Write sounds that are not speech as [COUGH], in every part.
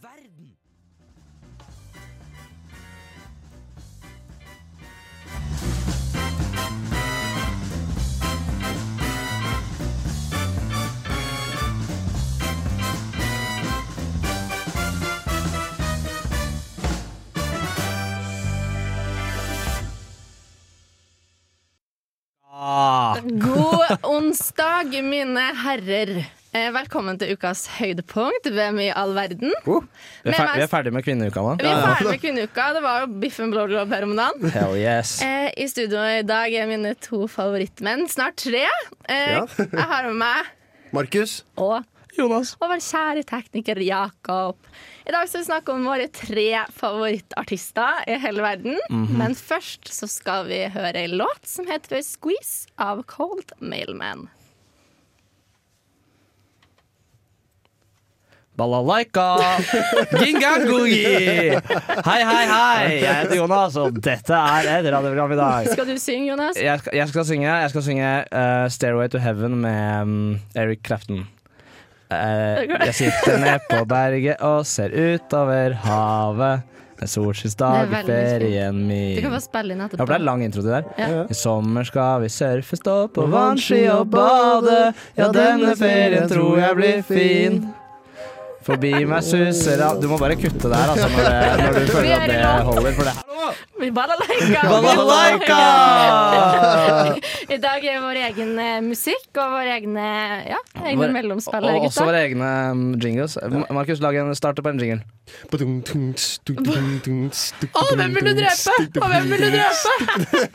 verden! Ah, God onsdag, mine herrer. Eh, Velkommen til ukas høydepunkt. Hvem i all verden? Uh, Oh, Vi er, fer Men- vi er ferdig med kvinneuka, mann. Vi er ferdig med kvinneuka. Det var jo biffen blå blå her om dagen. Hell [LAUGHS] yes. Eh, I studio i dag er mine to favorittmenn, snart tre. Eh, Ja. jeg har med meg Markus, og, Jonas. og vår kjære tekniker Jakob. I dag skal vi snakke om våre tre favorittartister i hele verden. Mhm. Men først så skal vi høre ei låt som heter 'A Squeeze' av Cold Mailman. [LAUGHS] Balalaika. Gingangogi. Hei, hei, hei. Jeg heter Jonas, og dette er et radioprogram i dag. Skal du synge, Jonas? Jeg skal, jeg skal synge, jeg skal synge eh, 'Stairway to Heaven' med mm, Eric Clapton. Eh, jeg sitter ned på berget og ser utover havet. En solskinnsdag Det i er veldig ferien Du min. kan bare spille inn Jeg etterpå. håper det er lang intro til det der. Ja. I sommer skal vi surfe, stå på vannski og bade. Ja, denne ferien tror jeg blir fin. Forbi meg suser av Du må bare kutte der, altså, når, det, når du føler at det holder. For det Vi balalaika! Balalaika! I dag er vår egen eh, musikk og vår egne, ja, egne Vår- Og, mellomspill. og også gutter. våre egne um, jingles. Ma- Markus, lag en starte på en [LAUGHS] jingle. Å, hvem vil du drepe? Og hvem vil du drepe?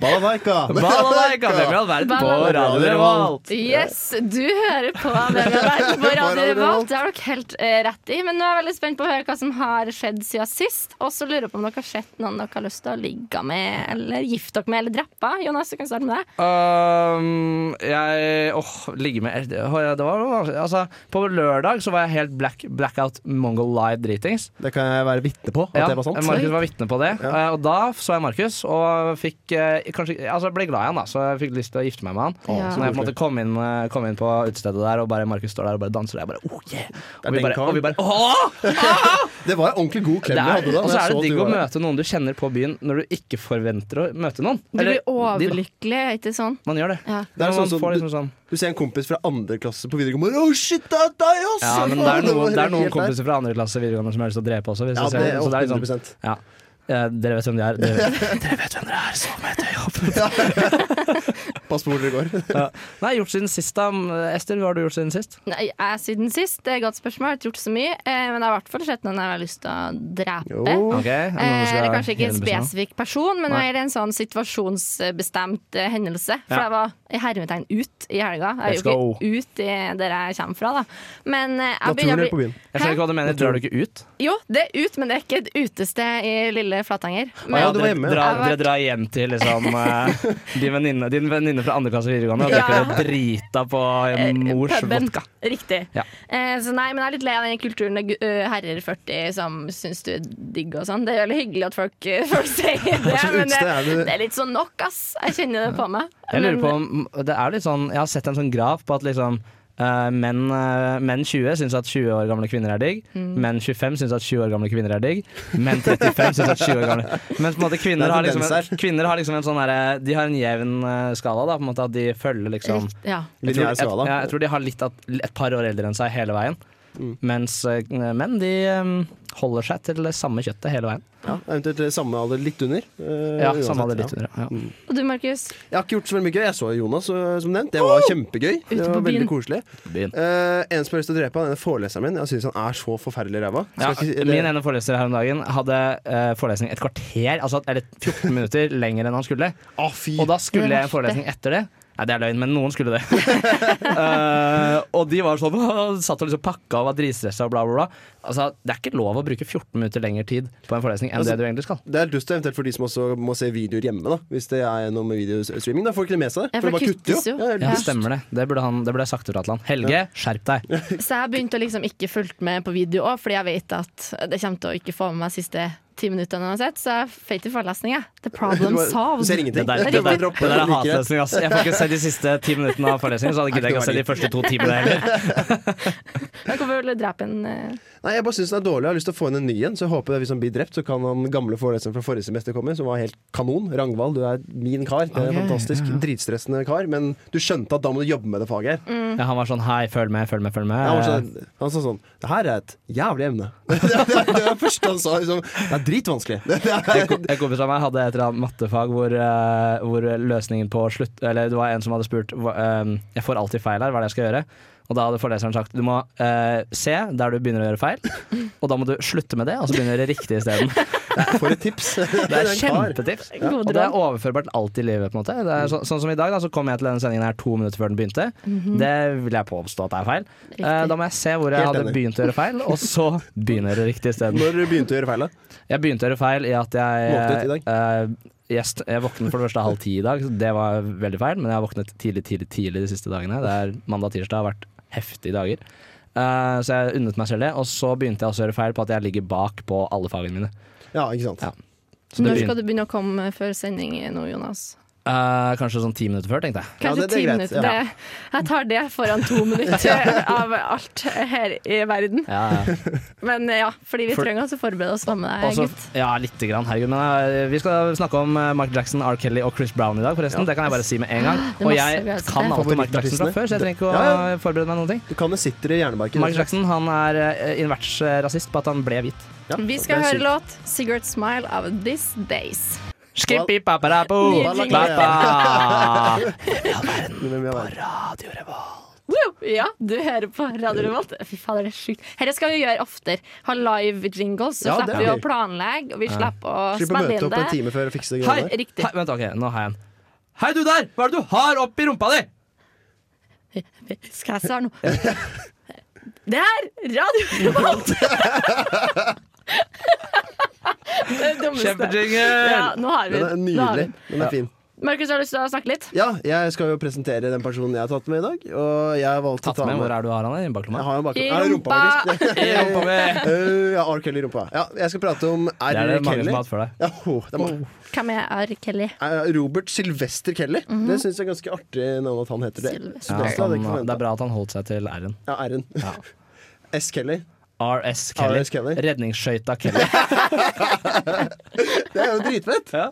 balalaika. [LAUGHS] Balalaika! Hvem [LAUGHS] i all verden på Radio Revolt? Yes, du hører på Hvem er verden på Radio Revolt. Det har dere helt eh, rett i. Men nå er jeg veldig spent på å høre hva som har skjedd siden sist. Og så lurer jeg på om dere har sett noen dere har lyst til å ligge med, eller gifte dere med, eller drepe. Jonas, du kan starte med deg. Um, jeg Åh, ligge med det, åh, ja, det var noe vanskelig. Altså, på lørdag så var jeg helt black, blackout mongol live dritings. Det kan jeg være vitne på. At Ja, det var sant. Markus var vitne på det. Ja. Eh, Og da så jeg Markus og fikk eh, kanskje, altså, ble glad i han, da, så jeg fikk lyst til å gifte meg med han. Ja. Så når jeg på en måte kom inn, eh, kom inn på utestedet der, og bare Markus står der og bare danser, og jeg bare oh yeah! er Og vi den bare, karen. og vi bare åh! Det var en ordentlig god klem Det jeg er, hadde da. og så når jeg er det at du digg å var- møte noen du kjenner på byen, når du ikke forventer å møte noen. Du blir Eller, de da. overlykkelig, er ikke sånn? Man gjør det. Ja. Det er Men man sånn som får du- liksom sånn Du ser en kompis fra andre klasse på videregående. Å, shit, det er deg, ass! Ja, men det er noen, det er noen kompiser fra andre klasse videregående som har lyst til å drepe også. Hvis Ja, jeg ser det det. er Så det er liksom, 100 ja. Eh, Dere vet hvem de er. Dere vet, dere vet hvem dere er. Så med et øye opp. Pass på hvor dere [LAUGHS] går. Ja. Nei, gjort siden sist, da. Ester, hva har du gjort siden sist? Nei, jeg siden sist. Det er et godt spørsmål. Jeg har ikke gjort så mye. Eh, men jeg har i hvert fall sett noen jeg har lyst til å drepe. Jo. Ok, er det noen Eh, som skal eller kanskje ikke en gjøre det bestemt? spesifikk person, men Nei. mer en sånn situasjonsbestemt eh, hendelse. For Ja. jeg var i hermetegn ut i helga. Jeg Let's er jo ikke ut i der jeg kommer fra, da. Men eh, jeg Naturen begynner eller å på bli byen. Jeg skjønner ikke hva du mener. Drar du ikke ut? Jo, det er ut, men det er ikke et utested i lille Flatanger. Men, ja, Å du var dere, hjemme, ja. drar, Jeg var- dere drar hjem til liksom, eh, de venninne, din venninne fra andre klasse videregående, og Ja. drikker dere drita på eh, mors puben. vodka. Riktig. Ja. Eh, så nei, men jeg er litt lei av den kulturen det er gu- herrer 40 som syns du er digg og sånn. Det er veldig hyggelig at folk, [LAUGHS] folk sier [LAUGHS] det, slags men det, utested er du- det er litt sånn nok, ass. Jeg kjenner det på meg. Jeg lurer Men- på om det er litt sånn Jeg har sett en sånn graf på at liksom eh, menn, eh, menn 20 syns at 20 år gamle kvinner er digg. Menn 25 syns at 20 år gamle kvinner er digg. Menn 35 syns at 20 [LAUGHS] år gamle Men på en måte Det kvinner er har liksom tendens en, kvinner har liksom en sånn derre- De har en jevn eh, skala, da, på en måte at de følger liksom Rikt- ja. Jeg tror, Lineær jeg, skala. ja, jeg tror de har litt at, et par år eldre enn seg hele veien. Mm. Mens eh, menn de eh, holder seg til det samme kjøttet hele veien. Ja, eventuelt eh, samme alder litt under. eh, Ja, uansett, samme hadde ja. Mm. litt under. Ja. Og du, Markus? Jeg har ikke gjort så veldig mye gøy. Jeg så Jonas, eh, som nevnt. Det var kjempegøy. Det Ute på var byen. veldig koselig. Byen. Eh, en som har lyst til å drepe, han er foreleseren min. Jeg synes han er så forferdelig ræva. Ja, Skal ikke- det- min ene foreleser her om dagen hadde eh, forelesning et kvarter, altså, eller 14 minutter lenger enn han skulle. Å, fy. Og da skulle Det er jeg en forelesning etter det. Nei, det er løgn, men noen skulle det. Eh, og de var sånn [LAUGHS] satt og liksom pakka og var dritstressa og bla, bla, bla. Altså, det er ikke lov å bruke 14 minutter lengre tid på en forelesning enn Altså, det du egentlig skal. Det er dust eventuelt for de som også må se videoer hjemme, da. Hvis det er noe med videostreaming. Da får de ikke det med seg. Ja, for for de bare det kutter kuttes jo. jo. Ja, det er Ja, dust. [LAUGHS] stemmer det. Det burde, han, det burde jeg sagt ifra til han. Helge, skjerp deg. Så jeg begynte å liksom ikke fulgt med på video òg, fordi jeg vet at det kommer til å ikke få med meg siste ti minuttene uansett, så er fate i forelesninga. The [LAUGHS] problem Du ser solved. Det ingenting. der, det, Det er Du bare der, riktig. det dropper der er det. Liker det. hatlesning, ass. Jeg får ikke se de siste ti minuttene av forelesningen, så hadde gidder jeg ikke å se de første to timene heller. [LAUGHS] Jeg kommer vel til å drepe en eh, Nei, jeg bare syns den er dårlig. Jeg har lyst til å få inn en ny en. Så jeg håper hvis han blir drept, så kan han gamle foreleseren fra forrige semester komme, som var helt kanon. Rangvald, du er min kar. Det er Ok, fantastisk. ja, ja. Dritstressende kar. Men du skjønte at da må du jobbe med det faget her. Ja, han var sånn hei, følg med, følg med, følg Ja, Han, var med. sånn, han sa sånn Det her er et jævlig [LAUGHS] emne. Det var det, det, var første han sa. Liksom, det er dritvanskelig. Det, det er, En kom- en kompis av meg hadde et eller annet mattefag hvor, eh, hvor løsningen på slutt Eller det var en som hadde spurt hva, eh, Jeg får alltid feil her, hva er det jeg skal gjøre? Og da hadde foreleseren sagt du må eh, se der du begynner å gjøre feil, og da må du slutte med det, og så begynne å gjøre riktig [LAUGHS] isteden. [LAUGHS] for et tips. Det [LAUGHS] er en kar. kjempetips. Og god det er råd. overførbart alt i livet. på en måte det er så, Sånn som i dag, da, så kom jeg til denne sendingen her to minutter før den begynte. Det vil jeg påstå at er feil. Eh, Riktig. da må jeg se hvor jeg Helt hadde enig. begynt å gjøre feil, og så begynne å gjøre riktig isteden. Når du begynte å gjøre feil, da? Jeg begynte å gjøre feil i at Våknet i jeg eh, jeg, st- jeg våknet for det første halv ti i dag, så det var veldig feil. Men jeg har våknet tidlig, tidlig, tidlig de siste dagene. Det er Mandag og tirsdag har vært heftige dager. Eh, så jeg unnet meg selv det. Og så begynte jeg også å gjøre feil på at jeg ligger bak på alle fagene mine. Ja, ikke sant. Ja. Så det Når begynte, skal du begynne å komme før sending nå, Jonas? eh, kanskje sånn ti minutter før, tenkte jeg. Ja, Kanskje det- det er ti greit, minutter. ja. Det, jeg tar det foran to minutter [LAUGHS] av alt her i verden. Ja, ja. Men ja, fordi vi For- trenger å forberede oss. Hva med deg, Også, gutt? ja, lite grann. Herregud. Men eh, vi skal snakke om eh, Mark Jackson, R. Kelly og Chris Brown i dag, forresten. Det kan jeg bare si med en gang. Det er Og masse altså. jeg vi har sett. kan alt om Mark Jackson fra Favorittartistene. før, så jeg trenger ikke å Ja, eh, forberede meg noen ting. Du kan det sitter i hjernebarken. Mark Jackson han er eh, invers eh, rasist på at han ble hvit. Ja, Vi det skal er høre sykt. låt 'Cigarette Smile' av This Days. Skippi paparapo! Nydelig. Pappa! Men vi har- Radio Revolt. Woo! Ja, du hører på Radio Revolt. Fy fader, det er sjukt. Dette skal vi gjøre oftere. Ha live jingles, så Ja, det slipper er vi å gøy. planlegge, og vi slipper å Slipper å spille møte inn opp en det. time før og fikse det [LAUGHS] Hei! greiene der. Riktig. Hei, vent, ok, nå har jeg en. Hei, du der! Hva er det du har oppi rumpa di? [LAUGHS] Skal jeg svare nå? Det er Radio [LAUGHS] Revolt! Det er det dummeste. Ja, Kjempejingle! nå har vi Den er den. Nå har vi nydelig. den. Den er fin. Markus, har du lyst til å snakke litt? Ja, jeg skal jo presentere den personen jeg har tatt med i dag. Og jeg har valgt Tatt å ta med, med Hvor er du har han? i Jeg Baklomma? har en bakgrunn. I Er det rumpa, rumpa. [LAUGHS] faktisk? I [LAUGHS] rumpa mi! Øh, ja, R. Kelly i rumpa. Ja, jeg skal prate om R. Det er det mange Kelly. som har hatt før deg. Ja, ho, det er mange. Hvem er R. Kelly? Eh, Robert Sylvester Kelly. Det syns jeg er ganske artig navn at han heter det. Sylvester. Ja, Sylvester hadde jeg ikke han, det er forventet. bra at han holdt seg til R-en. Ja, R-en. [LAUGHS] S. Kelly. RS Kelly. RS Kelly. Redningsskøyta Kelly. Det er jo dritfett! [LAUGHS] Ja.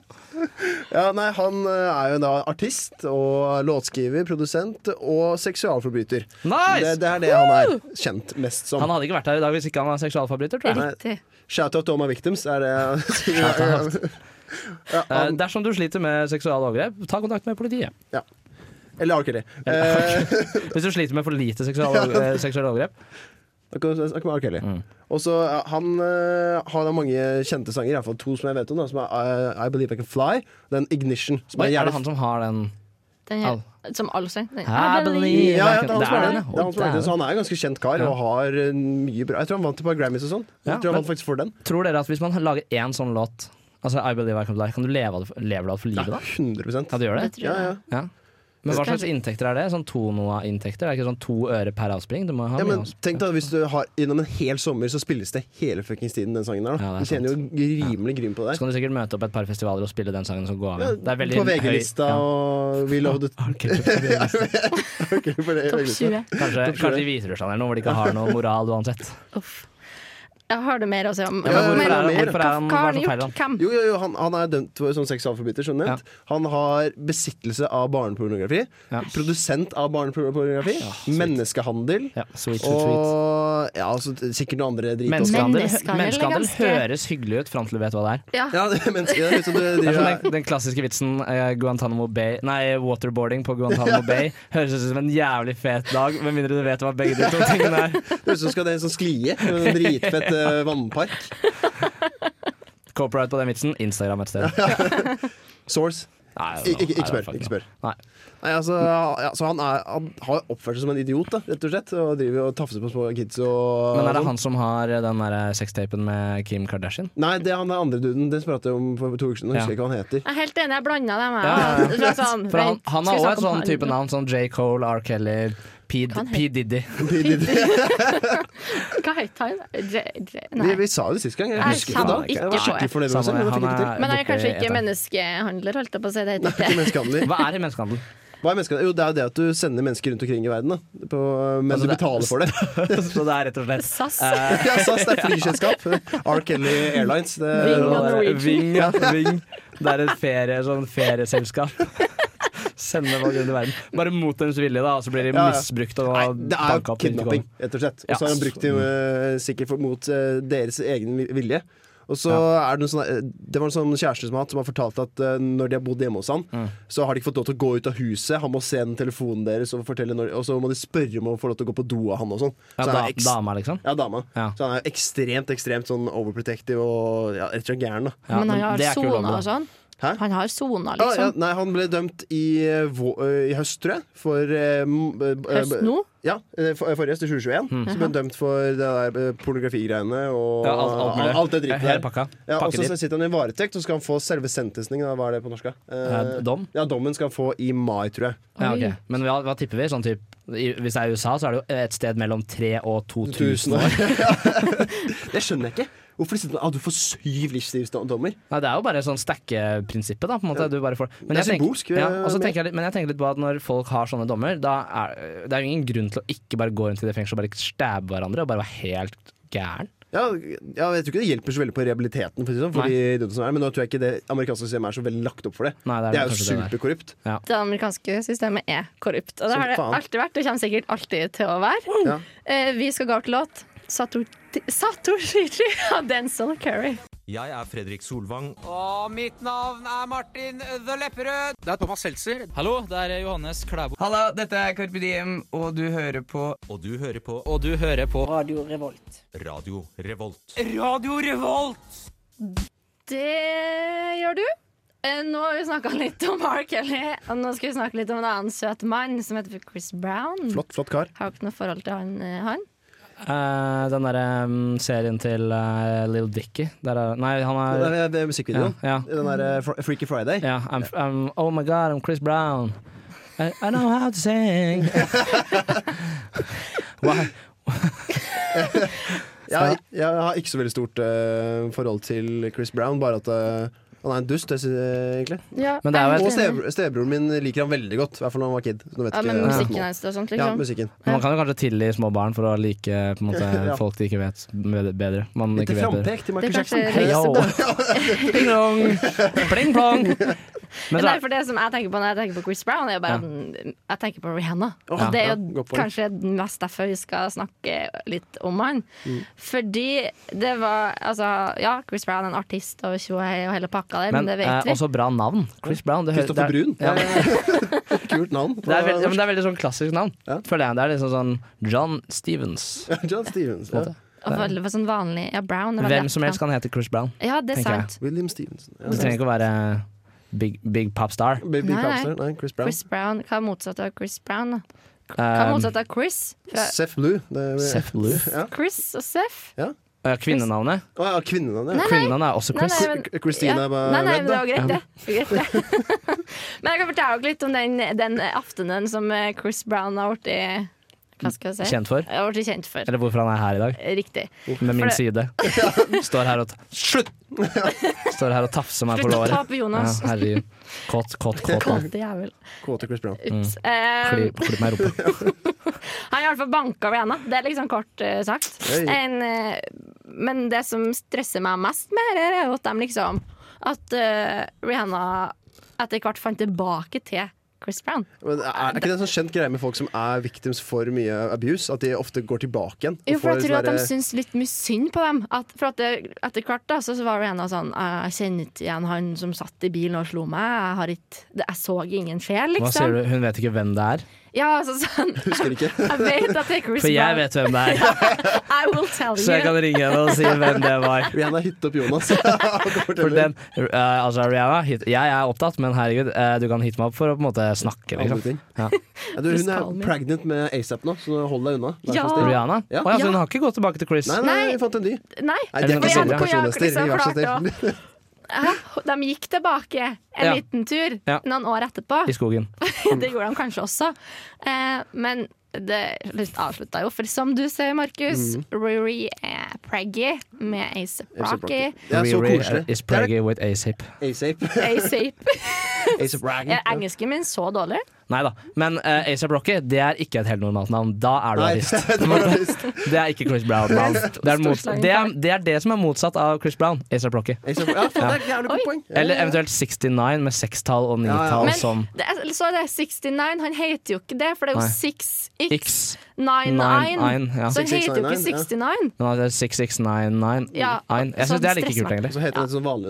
Ja, nei, han eh, er jo da artist og låtskriver, produsent og seksualforbryter. Nice! Det, det er det han er kjent mest som. Han hadde ikke vært her i dag hvis ikke han var seksualforbryter, tror jeg. Nei. Riktig. Shout-out to all my victims, er det [LAUGHS] ja, Eh, han, dersom du sliter med seksuelle overgrep, ta kontakt med politiet. Eller R. Kelly. Eh, Eller Eh, Hvis du sliter med for lite seksuelle eh, seksuelle overgrep. Da kan du snakke med R. Kelly. Mm. Og så ja, Han øh, har da mange kjente sanger, i hvert fall to som jeg vet om. Da, som er eh, I, I Believe I Can Fly, den Ignition. Som Oi, er er jævlig det han som har den? Den her, som allsang. Den- I believe- ja, ja, det er han Det som er er den, det. ja. det er han som er det. Så han er en ganske kjent kar Ja. og har øh, mye bra Jeg tror han vant et par Grammys og sånn. Ja, jeg tror han men- vant faktisk for den. Tror dere at hvis man lager én sånn låt, altså I Believe I Can Fly, kan du leve av det, lever du av det for livet da? 100 Kan du gjøre Det det? tror Ja, jeg. ja. Ja. Men hva Skal- slags inntekter er det? Sånn Tonoa-inntekter? Er det ikke sånn to øre per avspring? Du må ha Ja, mye men avspring. tenk da, Hvis du har gjennom en hel sommer, så spilles det hele fuckings tiden, den sangen der. Ja, Da. det er Du tjener jo rimelig gryn på det. Så kan du sikkert møte opp et par festivaler og spille den sangen som går av. Ja, igjen. Det er veldig på VG-lista høy- og We Ja. Love [LAUGHS] Kanskje, the på det- Topp 20. VG-lista. kanskje i Hviterussland eller noe, hvor de ikke har noe moral [LAUGHS] uansett. Uff. Jeg har det mer å si om. Ja, men hvorfor Men- er han- mer? hvorfor er han- Hva hva har er han det som feiler gjort? han? Hvem? Jo, jo, jo han, han er dømt for sånn seksualforbryter, som nevnt. Han har besittelse av barnepornografi. Ja. Produsent av barnepornografi. menneskehandel. Ja, sweet, sweet, sweet. Og ja, altså, sikkert noen andre drit også. Menneskehandel, Menneskehandel er menneskehandel ganske- høres hyggelig ut fram til du vet hva det er. Ja. Ja, det er menneske, det er litt sånn du Det er driver som den, den klassiske vitsen eh, Guantanamo Bay Nei, waterboarding på [LAUGHS] Guantanamo Bay høres ut som en jævlig fet dag, med mindre du vet hva begge de to tingene er. Det høres ut som skal det en sånn sklie. En [LAUGHS] dritfett eh, vannpark. Copyright på den vitsen. Instagram [LAUGHS] et sted. Source. Nei, Ik- ikke- ikke nei, spør, fuck ikke no. spør. Nei. Nei, altså, ja, så han, er, han har oppført seg som en idiot, da, rett og slett. Og driver og tafser på små kids og Men er det sånn. han som har eh, den derre sextapen med Kim Kardashian? Nei, det er han der andre duden. Det pratet jeg om for to uker siden. Ja. Jeg husker ikke hva han heter. Jeg er helt enig, jeg blanda dem. Ja, ja, ja. Jeg. Det var Sånn, For han, vent, han har skal også vi snakke et om sånn type navn som J. sånn Cole, R. Kelly, P. Kan P. Diddy. Hva heter han? J, J, Vi, nei. vi sa det sist gang. Jeg Nei, husker ikke samme, da. ikke Jeg var på skikkelig jeg. fornøyd med meg selv. men Samme, jeg fikk ikke til. han er Men han er borte kanskje i ikke et av- menneskehandler, holdt jeg på å si. Det Nei, heter ikke ikke det. menneskehandel. Hva er i [LAUGHS] menneskehandel? Hva er menneskehandel? Jo, det er jo det at du sender mennesker rundt omkring i verden, da. På, men Altså, det- du betaler [LAUGHS] for det. Så det er rett og slett SAS. eh, Ja, SAS, det er flyselskap. R. Kelly Airlines. Det, Eh, det Ving og er- Norwegian. Ving, ja, Ving. Det er et ferie, sånn ferieselskap. Sende folk rundt i verden. Bare mot deres vilje, da, og så blir de Ja, ja. misbrukt Nei, og det er banka jo opp. til de ikke kidnapping, rett og slett. Og Ja. så har han brukt det eh, sikkert for, mot eh, deres egen vi- vilje. Og så er Det noen sånne, eh, Det var en sånn kjæreste som, har hatt, som har fortalt at eh, når de har bodd hjemme hos han, Mm. så har de ikke fått lov til å gå ut av huset. Han må se den telefonen deres, og, fortelle når, og så må de spørre om å få lov til å gå på do av han og sånn. Ja, Så han da, er eks- dama, liksom. ja, dama. Ja. Så han er ekstremt ekstremt sånn overprotective og ja, rett og slett gæren. da Ja, men han det er har ikke ulovlig, sona og da. sånn. Hæ? Han har sona, Ja, ja, liksom. nei, han ble dømt i, eh, vå- eh, i høst, tror jeg. For eh, m- eh, Høst nå? Ja, eh, for, forrige høst, i 2021. Så ble han dømt for det der eh, pornografigreiene Hmm. og Ja, alt, alt, mulig. det Hele dritet der. pakka. Ja, og Pakke så dit. sitter han i varetekt, og så skal han få selve sentencing. da, Hva er det på norsk? da? Eh, Eh, dom? Ja, dommen skal han få i mai, tror jeg. Ja, Oi. ok. Men hva, hva tipper vi? Sånn typ, i, hvis det er i USA, så er det jo et sted mellom 3 og 2000 år. [LAUGHS] det skjønner jeg ikke. Hvorfor sitter han ah, Du får syv livstidsdommer. Nei, det er jo bare sånn stackeprinsippet, da. På en måte. Du bare får. Det er symbolsk, Tenker, ja, og så eh, tenker jeg, litt- men jeg tenker litt på at når folk har sånne dommer, da er det er jo ingen grunn til å ikke bare gå rundt i det fengselet og bare stabbe hverandre og bare være helt gæren. Ja, ja, jeg tror ikke det hjelper så veldig på rehabiliteten, for å si det sånn, for Nei. de idiotene som er her, men nå tror jeg ikke det amerikanske systemet er så veldig lagt opp for det. Nei, det er det er jo kanskje det der. superkorrupt. Det amerikanske systemet er korrupt. Og det Som har det faen. alltid vært, og kommer sikkert alltid til å være. Ja. Eh, vi skal gå over til låt. Sator- Satoshi [LAUGHS] av Denzil Curry. Jeg er Fredrik Solvang. Og mitt navn er Martin The Lepperød. Det er Thomas Seltzer. Hallo, det er Johannes Klæbo. Halla, dette er Carpe Diem, og du hører på Og du hører på Og du hører på Radio Revolt. Radio Revolt. Det gjør du. Eh, Nå har vi snakka litt om R. Kelly, og nå skal vi snakke litt om en annen søt mann som heter Chris Brown. Flott, flott kar. Har jo ikke noe forhold til han. eh, han. Eh, den derre mm, serien til uh, Lill Dicky der er, Nei, han Det er er, det er ja, musikkvideoen. ja, Den der eh, Fr- Freaky Friday. ja, I'm, f- I'm, Oh my god, I'm Chris Brown. I, I know how to [LAUGHS] sing. Why? Jeg, jeg har ikke så veldig stort eh, forhold til Chris Brown, bare at eh, han er en dust, jeg synes, eh, egentlig. Ja, Men det er jo jeg Og helt enig. stebr stebroren min liker han veldig godt, i hvert fall da han var kid. Så nå vet ja, jeg men ikke- musikken hans og sånt, eh, Ja, liksom. musikken. Men man kan jo kanskje tilgi små barn for å like på en måte, [LAUGHS] Ja. folk de ikke vet med- bedre. Man ikke Litt vet bedre. frampek Det til er Michael kanskje Jackson. Hei, yo. [LAUGHS] [LAUGHS] Pling plong! Pling plong! Men Men så det er, er for det som jeg tenker på når jeg tenker på Chris Brown, er jo bare at jeg tenker på Rihanna. Åh, Og det er ja, jo godt poeng. kanskje mest derfor vi skal snakke litt om han. Mm. Fordi det var Altså, ja, Chris Brown er en artist og tjo og hei og hele pakka der, men, men det vet eh, vi. også bra navn. Chris Brown. Det hø- det er- Kristoffer Brun. Ja, [LAUGHS] Kult navn. det, er veldig, ja, men det er veldig sånn klassisk navn. Ja. Føler jeg. Det er liksom sånn John Stevens. [LAUGHS] John Stevens. På en Ja. måte. og veldig sånn vanlig Ja, Brown. er veldig eh, Hvem som helst kan hete Chris Brown. Ja, det er tenker jeg. sant. William Stevenson. Ja. Du trenger ikke å være big, big pop star. Baby Nei, nei. Capster. Nei, Chris Brown. Chris Brown, Hva er motsatt av Chris Brown? da? Hva er Um, motsatt av Chris? Fra Seth Blue. Det er, Seth [LAUGHS] Blue. Ja. Chris og Seth? Eh, Kvinnenavnet. Å ja, kvinnenavnet. ja. Kvinnenavnet er også Nei, Chris. nei, men- K- Christina var Nei, nei, men redd, det var da. greit, det. Det var greit, det. [LAUGHS] men jeg kan fortelle dere litt om den, den aftenen som eh, Chris Brown har blitt eh, Hva skal jeg si? Kjent for. Har blitt kjent for. Eller hvorfor han er her i dag. Riktig. Med min det- [LAUGHS] side. Står her og ta- Slutt! Står her og tafser meg på Slutt å ta låret. på Ja, Jonas. herregud. Kåt, kåt, kåt. Kåte jævel. Kåte Chris Brown. Mm. Ups. Eh, Kli- Klipp meg i rumpa. han har i hvert fall banka Rihanna. Det er liksom kort eh, sagt. Oi. En, eh, men det som stresser meg mest med dette, er jo at de liksom At eh, Rihanna etter hvert fant tilbake til Chris Brown. Men er, er ikke det en sånn kjent greie med folk som er victims for mye abuse? At de ofte går tilbake igjen? og Jo, for får sånn jeg tror at de sånne- syns litt mye synd på dem. At, for at det, etter hvert da, så, så var det en av sånn «Eh, Jeg kjenner ikke igjen han som satt i bilen og slo meg. Jeg, har ikke, det, jeg så ingen sjel, Hva sier liksom. du? Hun vet ikke hvem det er? Ja, altså sånn Husker ikke. [LAUGHS] Jeg vet at det er Chris For jeg Brown. vet hvem det er, I will tell så jeg kan you. ringe henne og si hvem det var. Rihanna hytte [LAUGHS] opp Jonas. [LAUGHS] For For den, eh, altså Rihanna, hit, jeg er opptatt, men herregud, eh, du kan hitte meg opp for å på en måte snakke, Andre liksom. ting. Ja. Ja, du, Please hun er call me. pregnant med ASAP nå, så hold deg unna. Vær Ja. så snill. Rihanna? Å ja, Ja. Ja. så hun har ikke gått tilbake til Chris? Nei, nei, Nei. vi fant en ny. Nei. Nei, Er det det er noe sånn ikke sånne hvor jeg har personligheter. liksom Vær så klart [LAUGHS] snill. Hæ? De gikk tilbake en Ja. liten tur Ja. noen år etterpå. [LAUGHS] I skogen. Det gjorde de kanskje også. Eh, men det avslutta jo, for som du ser, Markus, Mm. Riri er praggy med ASAP Rocky. Det er så Riri eh, koselig. is preggy with ASAP. Asape. ASAP. [LAUGHS] Asape Rocky. Er engelsken min så dårlig? Nei da. Men eh, ASAP Rocky det er ikke et helt normalt navn. Da er du Nei, [LAUGHS] artist. det er journalist. Det er ikke Chris Brown. [LAUGHS] navn. Det er, mot, storslagen det, er, det er det som er motsatt av Chris Brown. ASAP Rocky. A$AP Ja, faen, det er et jævlig godt Oi. poeng. Ja. Eller eventuelt 69 med sekstall og ja. nitall Men som det er, så er det 69, han heter jo ikke det, for det er jo Nei. 6X. X. 99. Nine, ja. Så han heter jo ikke 6699, 69. Men at det er 6699 Ja, Ein. Jeg syns sånn det er like stresser kult, meg. egentlig. Og så heter det et sånn vanlig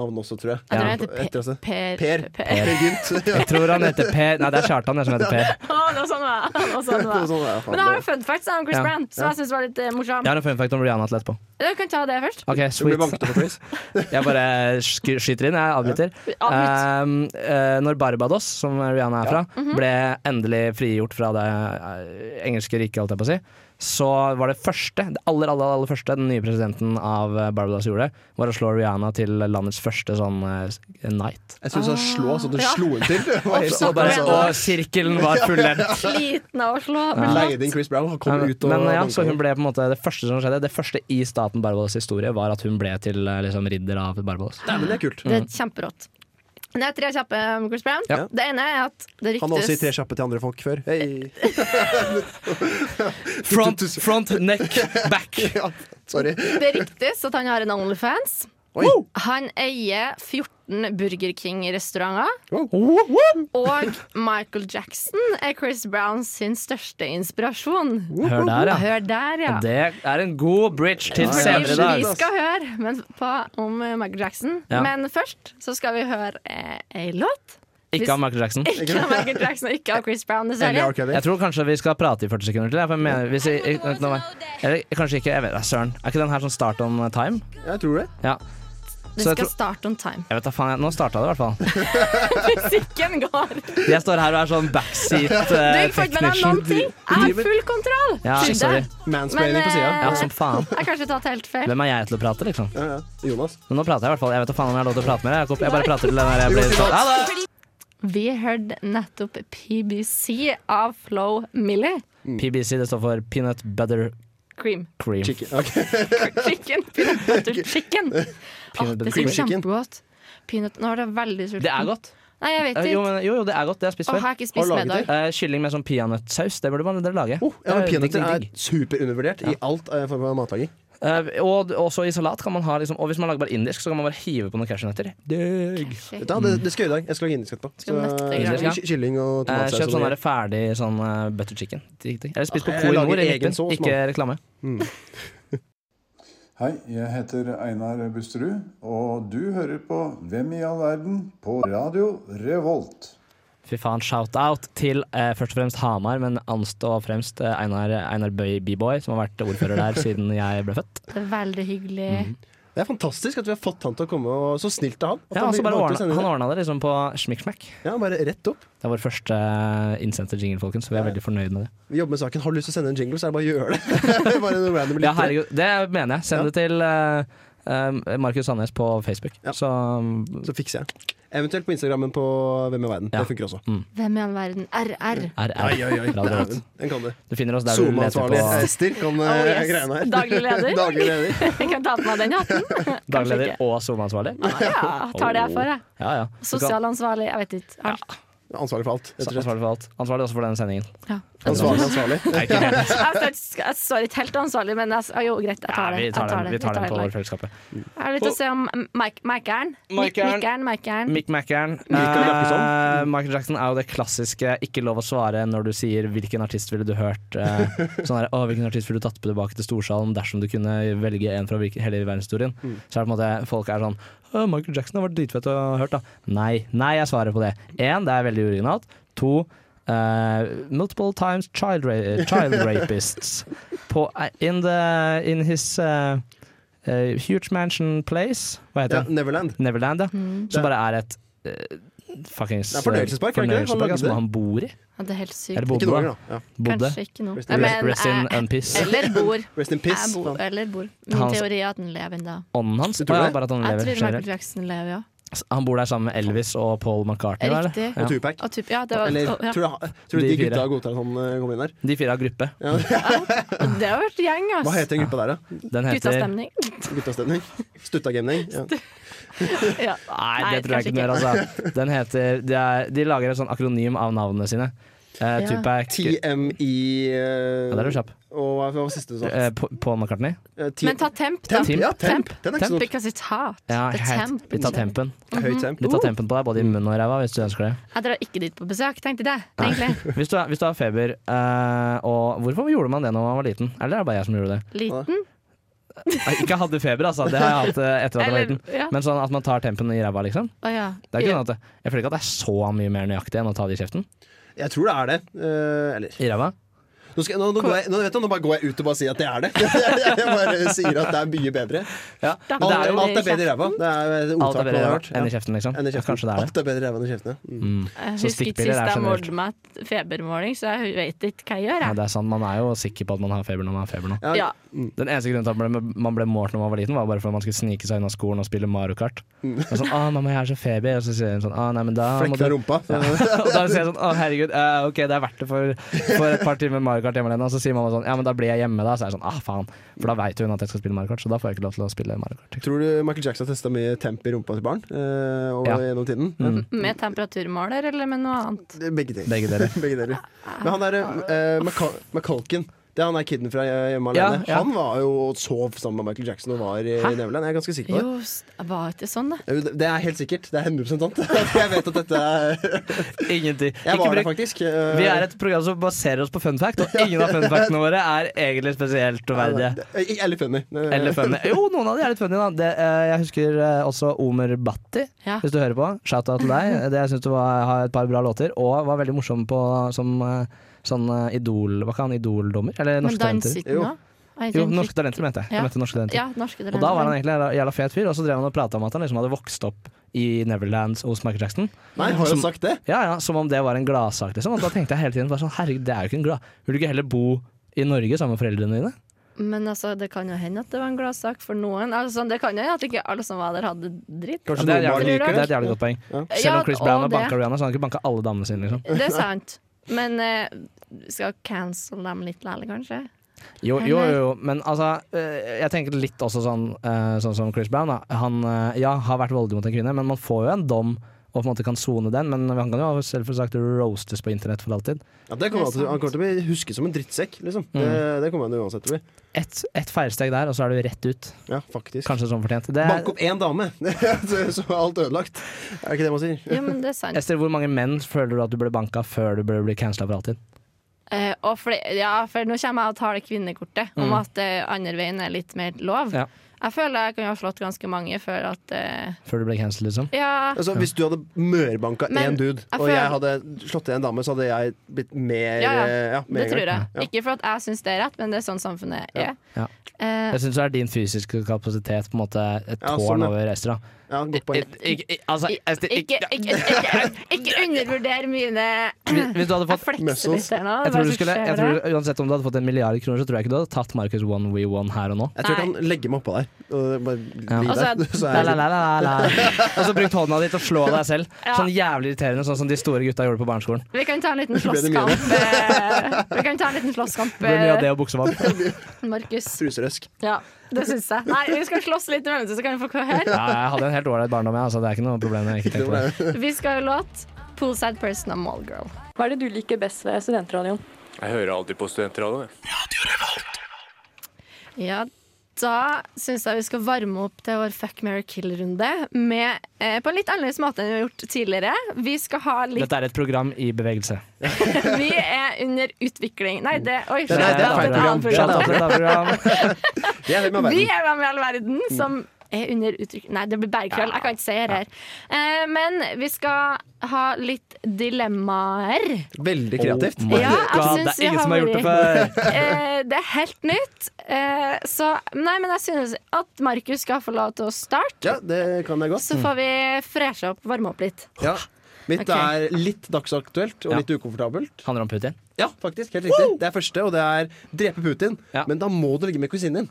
navn også, tror jeg. Jeg tror Ja. han heter Etter Per. altså. Per. Per. per. Per Gynt. [LAUGHS] Ja. Jeg tror han heter Per Nei, det er Kjartan jeg, som heter Per. [LAUGHS] Å, det var sånn det var. Det var sånn det [LAUGHS] Det var var. sånn, ja, faen, Men jeg har en det- fun fact om Chris Ja. Brown som jeg syns var litt eh, morsom. Jeg har en fun fact om Rihanna til etterpå. Du kan ta det [LAUGHS] først. Ok, Du blir sweet banket opp av Chris. Jeg bare sk- skyter inn, jeg avbryter. Avbryt. Um, eh, når Barbados, som Rihanna er fra, ble endelig frigjort fra det eh, engelske riket, holdt jeg på å si, så var det første, det aller, aller, aller første den nye presidenten av eh, Barbados gjorde, var å slå Rihanna til landets første sånn eh, night. Jeg syns han slå sånn at du Ja. slo en til. Det [LAUGHS] var helt Og, sykt. bare, Rihanna. og sirkelen var fullendt. Sliten av å slå. Han men Leide inn Chris Brown, han kom Men, ut og men ja, banket så hun opp. ble på en måte Det første som skjedde Det første i staten Barbados historie Var at hun ble til eh, liksom, ridder av [LAUGHS] Barbados Nei, men det er kult. Det er kjemperått. Men Det er tre kjappe om Chris Brown. Mm. Ja. Det ene er at det Han har også gitt tre ryktes kjappe til andre folk før. Hei. Front, front, neck, back [LAUGHS] Ja, sorry. Det ryktes at han har en Onlyfans. Oi. Han eier 14 Burger King-restauranter. Og Michael Jackson er Chris Brown sin største inspirasjon. Hør der ja Hør der, ja. Det er en god bridge til ja. senere i dag altså. Vi skal høre men på, om eh, Michael Jackson, Ja. men først så skal vi høre eh, ei låt. Ikke av Michael Jackson Ikke av Michael Jackson, ikke av Chris Brown, Eller R. dessverre. Kelly. Jeg tror kanskje vi skal prate i 40 sekunder til jeg, for jeg mener, hvis jeg, jeg, nå må jeg, Eller kanskje ikke, jeg vet da, Søren Er ikke den her som start on time? Jeg tror det. Ja Vi Så jeg skal tror- starte on time. jeg vet da faen, jeg, nå startet det i hvert fall Musikken går. Jeg står her og er sånn backseat eh, [LAUGHS] Du har ikke fått med deg noen technician ting. Jeg har full kontroll. Ja, Skyld sorry. deg. Mansplaining Men, på eh, sida. Ja, sånn. som faen Jeg har kanskje tatt helt feil. Hvem er jeg til å prate liksom? Ja, ja. Jonas. Men nå prater jeg i hvert fall. Jeg vet da faen om jeg har lov til å prate med deg. Jakob. Jeg bare prater til den der jeg blir sånn. Ha det! Vi hørte nettopp PBC av Flow Millie. PBC, det står for Peanut Butter Cream. Cream. Chicken. Ok. Chicken. Peanut butter chicken. Åh, butter det cream er chicken. kjempegodt. Peanut Nå er det veldig sulten. Det er godt. Nei, jeg vet Eh, Jo, ikke. men, jo, jo, det er godt. Det har jeg spist Åh, jeg før. har ikke spist laget middag. Eh, kylling med sånn peanøttsaus, det burde man dere lage. Eh, Oh, ja, Det men er digg, Peanøtter digg, er digg. superundervurdert i alt eh, form for matlaging. Eh, og også i salat kan man ha liksom Og hvis man lager bare indisk, så kan man bare hive på noen cashewnøtter. Eh, Digg. Vet du hva, Mm. det, det skal jeg gjøre i dag. Jeg skal lage indisk etterpå. Skal du nøtte i gang? Så, ky- kylling og Eh, tomatsaus. kjøp og sånn noe. der ferdig sånn eh, butter chicken. Digg, digg. Eller spis på Jeg Koi lager Nord i egen Midtbyen. sås, Ikke reklame. Hei, jeg heter Einar Busterud, og du hører på Hvem i all verden? på Radio Revolt. Fy faen, shout-out til eh, først og fremst Hamar, men anst og fremst eh, Einar, Einar Bøy B-boy, som har vært ordfører der siden jeg ble født. Det er veldig hyggelig. Det er fantastisk at vi har fått han til å komme, og så snilt av han. At Ja, altså vil- bare valgte å ordna, sende han det. ordna det liksom på smikksmakk. ja, bare rett opp. Det er vår første eh, innsendte jingle, folkens. Så vi er veldig fornøyd med det. Vi jobber med saken. Har du lyst til å sende en jingle, så er det bare å gjøre det. [LAUGHS] bare en random Ja, lytter. herregud, det mener jeg. Send det til eh, eh, Markus Sandnes på Facebook. Ja. Så mm, Så fikser jeg. Eventuelt på Instagrammen på Hvem i verden. Ja. Det funker også. Hvem i all verden? RR. er er. Radio Revolt. Dæven, Den kan du. Du finner oss der du leter SoMe-ansvarlig på Ester kan eh, Oh, yes. greiene her. Daglig leder. [LAUGHS] Daglig leder. Jeg kan ta på meg den hatten. Kanskje dagleder ikke. og SoMe-ansvarlig. Ja, tar det jeg får, jeg. Ja, ja. Du kan- Sosial ansvarlig, jeg vet ikke. Alt. Ansvarlig for alt. rett og slett. Ansvarlig for alt. Ansvarlig også for denne sendingen. Ja. [LAUGHS] Ansvarlig, ansvarlig. Nei, ikke helt. Jeg står ikke- jeg står ikke helt ansvarlig, men jeg, s- jo, greit, jeg Ja, tar det. vi tar Jeg den, vi tar Jeg den på lag. overfellesskapet. Jeg har lyst til å se om Mikeren. Mikeeren. Mikeren. Mick Mackeren. Michael Jackson. Eh, Michael Jackson er jo det klassiske 'ikke lov å svare' når du sier 'hvilken artist ville du hørt'? [LAUGHS] eh, sånn her, å, 'Hvilken artist ville du tatt på tilbake til storsalen dersom du kunne velge en fra hvilken- hele verdenshistorien?' Så er det på en måte folk er sånn å, 'Michael Jackson har vært dritfett å ha hørt', da. Nei, nei, jeg svarer på det. Én, det er veldig uoriginalt. To, eh, multiple times child, ra [LAUGHS] child rapists på, eh, in, the, in his eh, eh, huge mansion place Hva heter Ja, den? Neverland. Neverland, ja. Som Mm. Det- bare er et eh, fuckings Det er fornøyelsespark, er det ikke det? Han fornøyelsespark, lagde ja, som det. han bor i. Ja, det er helt sykt. Eller bodde, Ikke da. noen ganger, da. Ja. Bodde. Kanskje ikke noe. Rest Ja, in- men, Rest in eh, one piece. Eller bor. Rest in Jeg piss. bor. Eller bor. Min Han- teori er at den lever ennå. Ånden hans? Du tror Å ja, det? bare at han Jeg lever tror Michael generelt. Jackson lever, ja. Han bor der sammen med Elvis og Paul McCartney. da, eller? Riktig. Ja. Og Tupac. Og typ, ja, det var, Eller og- ja. tror du, han- tror du De de fire. gutta godtar at han eh, kommer inn der? De fire har gruppe. Det har vært gjeng, ass. Hva heter den gruppa der, da? Den heter Guttastemning. Guttastemning? Stuttagaming? Ja. Ja. Nei, det tror jeg kanskje ikke mer, altså. Den heter, de, er, de lager en sånn akronym av navnene sine. Eh, Ja. Tupac ja, TMI eh, Der er du kjapp. Og hva hva var siste du sa? Eh, Pa- Paul McCartney. Eh, T- Men ta temp, da. temp. Ja, temp. Den er ikke så dumt. Because it's hot. Ja, The helt, temp. liksom. litt av tempen. Høy temp. Litt sånn. av tempen på deg, både i munnen og i ræva, hvis du ønsker det. Jeg drar ikke dit på besøk, tenkte jeg det. Egentlig. Hvis du, hvis du har feber, eh, og hvorfor gjorde man det når man var liten? Eller er det bare jeg som gjorde [LAUGHS] det? Liten. Jeg ikke hadde feber, altså. Det har jeg hatt eh, etter at jeg var Eller liten. ja. Men sånn at man tar tempen i ræva, liksom. Å ja. Det er ikke sånn at det- Jeg føler ikke at det er så mye mer nøyaktig enn å ta det i kjeften. Jeg tror det er det. Eh, eller I ræva. nå, skal, jeg- nå, nå, går jeg, nå, vet du, nå bare går jeg ut og bare sier at det [LAUGHS] er det. jeg bare sier at det er mye bedre. Da- Men det er Alt er, jo alt er bedre i ræva. Det er et Alt ordtak er man bedre i har ræva hørt. enn i Ja. kjeften, liksom. Enn i Ja, kjeften. Kanskje det er det. Alt er bedre i ræva enn i kjeften. Ja. Mm. Jeg Så husker ikke stikkpiller sist er jeg generelt. målte meg et febermåling, så jeg vet ikke hva jeg gjør. Ja, Jeg. det er sant. Man er jo sikker på at man har feber når man har feber nå. Ja. Ja. Den eneste grunnen til at man ble- man ble målt når man var liten, var bare for at man skulle snike seg unna skolen og spille Mario Kart. Og sånn, 'Å, mamma, jeg har så feber.' Og så sier hun sånn 'Å, nei, men da må Flekk du deg rumpa. og da sier jeg sånn, å herregud, eh, ok, det er verdt det for, for et par timer Mario Kart hjemme alene. Og så sier mamma sånn, ja, men da blir jeg hjemme da. Så er jeg sånn, ah faen. For da veit hun at jeg skal spille Mario Kart, så da får jeg ikke lov til å spille Mario Kart. liksom. Tror du Michael Jackson testa mye temp i rumpa til barn eh, og, Ja. Mm. gjennom tiden? Med temperaturmåler eller med noe annet? Det er Begge deler. Begge deler. [LAUGHS] Begge deler. Men han derre uh, McCulkin det er han der kiden fra eh, Hjemme Ja, alene. ja. Han var jo og sov sammen med Michael Jackson og var i Neverland. Jeg er ganske sikker på det. Jo, s- var ikke sånn, det. Jo, Det er helt sikkert. Det er 100 sant. [LAUGHS] Jeg vet at dette er Ingenting. Jeg Ikke var der, bruk faktisk. Eh, vi er et program som baserer oss på fun fact, og ingen av fun factene våre er egentlig spesielt troverdige. Eh, Eller funny. Eh, Eller funny. Jo, noen av de er litt funny, da. Det, eh, jeg husker eh, også Omer Bhatti, Ja. hvis du hører på. Shout-out til deg. [LAUGHS] Det jeg syns du var, har et par bra låter, og var veldig morsom på som eh, sånn eh, Idol... Hva kan han? Idoldommer? Eller Men Norske Talenter? danset den Jo. òg? Jo, Norske Talenter mente jeg. Ja. jeg mente norske talenter. Ja, norske Og da var han egentlig en jævla- jævla fet fyr, og så drev han og prata om at han liksom hadde vokst opp i Neverland hos Michael Jackson. Nei, har Som- han sagt det? Ja, ja, Som om det var en gladsak, liksom. Og da tenkte jeg hele tiden bare sånn, herregud, det er jo ikke en glad Vil du ikke heller bo i Norge sammen med foreldrene dine? Men altså, det kan jo hende at det var en gladsak for noen. Altså, det kan jo hende at ikke alle som var der, hadde dritt. Ja, det, Kanskje er et noen barn jævlig, liker det er det? et jævlig godt poeng. Selv Ja, om Chris og Brown har det. banka Rihanna, så har han ikke banka alle damene sine, liksom. Det er sant. Men eh, skal cancel dem litt lærlig, kanskje? Jo, jo, jo, jo. men altså eh, Jeg tenker litt også sånn, eh, sånn som Chris Brown. Da. Han eh, ja, har vært voldelig mot en kvinne, men man får jo en dom og på en måte kan sone den. Men han kan jo selvsagt roastes på internett for alltid. Ja, det kommer han, til, han kommer til å bli husket som en drittsekk. Liksom. Mm. Det, det kommer han uansett til å bli. Ett et feilsteg der, og så er du rett ut. Ja, faktisk. Kanskje som fortjent. Det Bank er, opp én dame, [LAUGHS] så så er alt ødelagt. Er det ikke det man sier? Jo, men det er sant. Ester, hvor mange menn føler du at du ble banka før du ble, ble cancela for alltid? Eh, og for, ja, for nå kommer jeg og tar det kvinnekortet om Mm. at eh, andre veien er litt mer lov. Ja. Jeg føler jeg kan ha slått ganske mange før at eh, Før du ble cancela, liksom? Ja. Altså, hvis du hadde mørbanka Men én dude, jeg og jeg føler- hadde slått til en dame, så hadde jeg blitt mer Ja, ja. eh, ja, med Det en tror jeg. gang. Ja. Ikke for at jeg syns det er rett, men det er sånn samfunnet er. Ja. Eh, Jeg syns det er din fysiske kapasitet på en måte et Ja, tårn sånn, ja. over Ester. da. Ja, godt poeng. altså, Ester, ikke, ikke, ikke, ikke undervurder mine Hvis hvis du hadde Jeg fått flekser litt her nå. jeg tror, Hva du som skulle, skjer jeg tror der? Uansett om du hadde fått en milliard kroner, så tror jeg ikke du hadde tatt Marcus One We One her og nå. Jeg tror jeg Nei. kan legge meg oppå der og bare bli Ja. der. Altså, [LAUGHS] Så La, er la, jeg, la, la, la. [LAUGHS] Og så brukt hånda di til å slå deg selv. Ja. Sånn jævlig irriterende, sånn som de store gutta gjorde på barneskolen. Vi kan ta en liten Ble det mye? slåsskamp. eh, Vi kan ta en liten slåsskamp, Det ble mye av eh, det og buksevann. [LAUGHS] Markus. Truserøsk. Ja, det syns jeg. Nei, vi skal slåss litt i mellomtiden, så kan vi få høre. Ja, jeg hadde en helt ålreit barndom, jeg. Altså, det er ikke noe problem. Jeg ikke tenker på det. Vi skal jo låt Poolside Person av Mallgirl. Hva er det du liker best ved studentradioen? Jeg hører alltid på studentradioen. jeg. Ja, da syns jeg vi skal varme opp til vår fuck, marry, kill-runde med, eh, på en litt annerledes måte enn vi har gjort tidligere. Vi skal ha litt Dette er et program i bevegelse. [LAUGHS] Vi er under utvikling. Nei, det Oi, Nei, det er feil et annet Shut program. program. up, dette er et [LAUGHS] program. Det er hvem er Vi verden. er hvem i all verden som er under uttrykk... Nei, det blir bergkrøll. Jeg kan ikke si det her. Eh, men vi skal ha litt dilemmaer. Veldig kreativt. Oh my Ja, jeg God, synes det vi er ingen har som har gjort det vært- før. Eh, det er helt nytt. Eh, så Nei, men jeg synes at Markus skal få lov til å starte. Ja, det kan jeg godt. Så får vi freshe opp, varme opp litt. Ja. Mitt Ok. er litt dagsaktuelt og Ja. litt ukomfortabelt. Handler om Putin. Ja, faktisk, helt riktig Det er første, og det er drepe Putin. Ja. Men da må du ligge med kusinen din.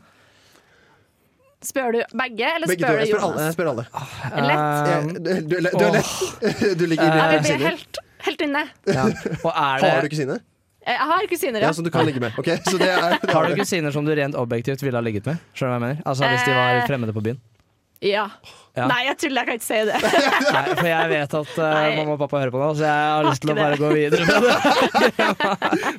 Spør du begge, eller Begge to. spør Jeg du spør alle. Jeg Jonas? spør alle. Lett. Jeg- Um, Du, du, du er lett. [LAUGHS] Du ligger Ja, vi rett ved blir siden av. helt, helt inne. Eh, ja. Og er det, Har du kusine? Jeg har kusiner, Ja, ja. som du kan ligge med. Ok, så det er det har er du det. kusiner som du rent objektivt ville ha ligget med? Skjønner du hva jeg mener? Altså Hvis de var Eh. fremmede på byen. ja. Ja. Nei, jeg tuller, jeg kan ikke si det. [LAUGHS] [LAUGHS] Nei, for jeg vet at eh, Nei. mamma og pappa hører på nå, så jeg har lyst til å ikke bare det. gå videre [LAUGHS] med det.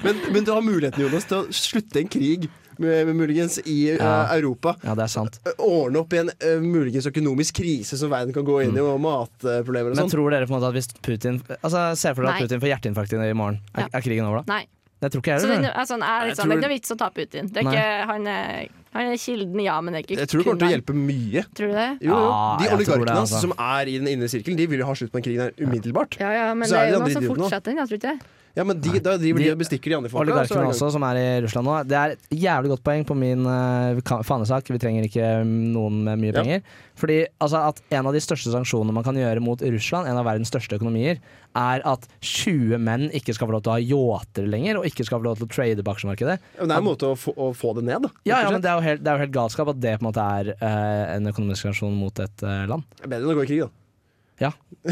Men, men du har muligheten Jonas, til å slutte en krig, med, med muligens, i eh, Ja. Europa. Ja, det er sant. Ordne opp i en eh, muligens økonomisk krise som verden kan gå inn i, og matproblemer Mm. og Men sånn. tror dere på en måte at hvis Putin Altså, Se for dere at Nei. Putin får hjerteinfarkt i morgen. Er, Ja. er krigen over da? Nei. Jeg tror ikke jeg Så det, gjør det. altså, han er, litt sånn, det er ikke noe vits å ta Putin. Det er Nei. ikke, han, er, han er kilden, ja, men det er ikke Jeg tror det kun kommer til å han. hjelpe mye. Tror du det? Jo, jo. Ja, De jeg tror det, oligarkene hans altså. som er i den inne sirkelen, de vil jo ha slutt på den krigen her umiddelbart. Ja, ja, men Så det er er jo noen det de andre som idioten nå. fortsetter den, ja, tror du ikke det? Ja, men de, da driver de De- og bestikker de andre folka. og så er Oligarkene det også, som er i Russland nå. Det er et jævlig godt poeng på min eh, ka- fanesak. Vi trenger ikke mm, noen med mye Ja. penger. Fordi altså, at en av de største sanksjonene man kan gjøre mot Russland, en av verdens største økonomier, er at 20 menn ikke skal få lov til å ha yachter lenger, og ikke skal få lov til å trade på aksjemarkedet. gang. Men Det er en måte å få, å få det ned, da. Ja, rett ja, og men det er, jo helt, det er jo helt galskap at det på en måte er eh, en økonomisk sanksjon mot et eh, land. slett. Det er bedre enn å gå i krig, da. Ja,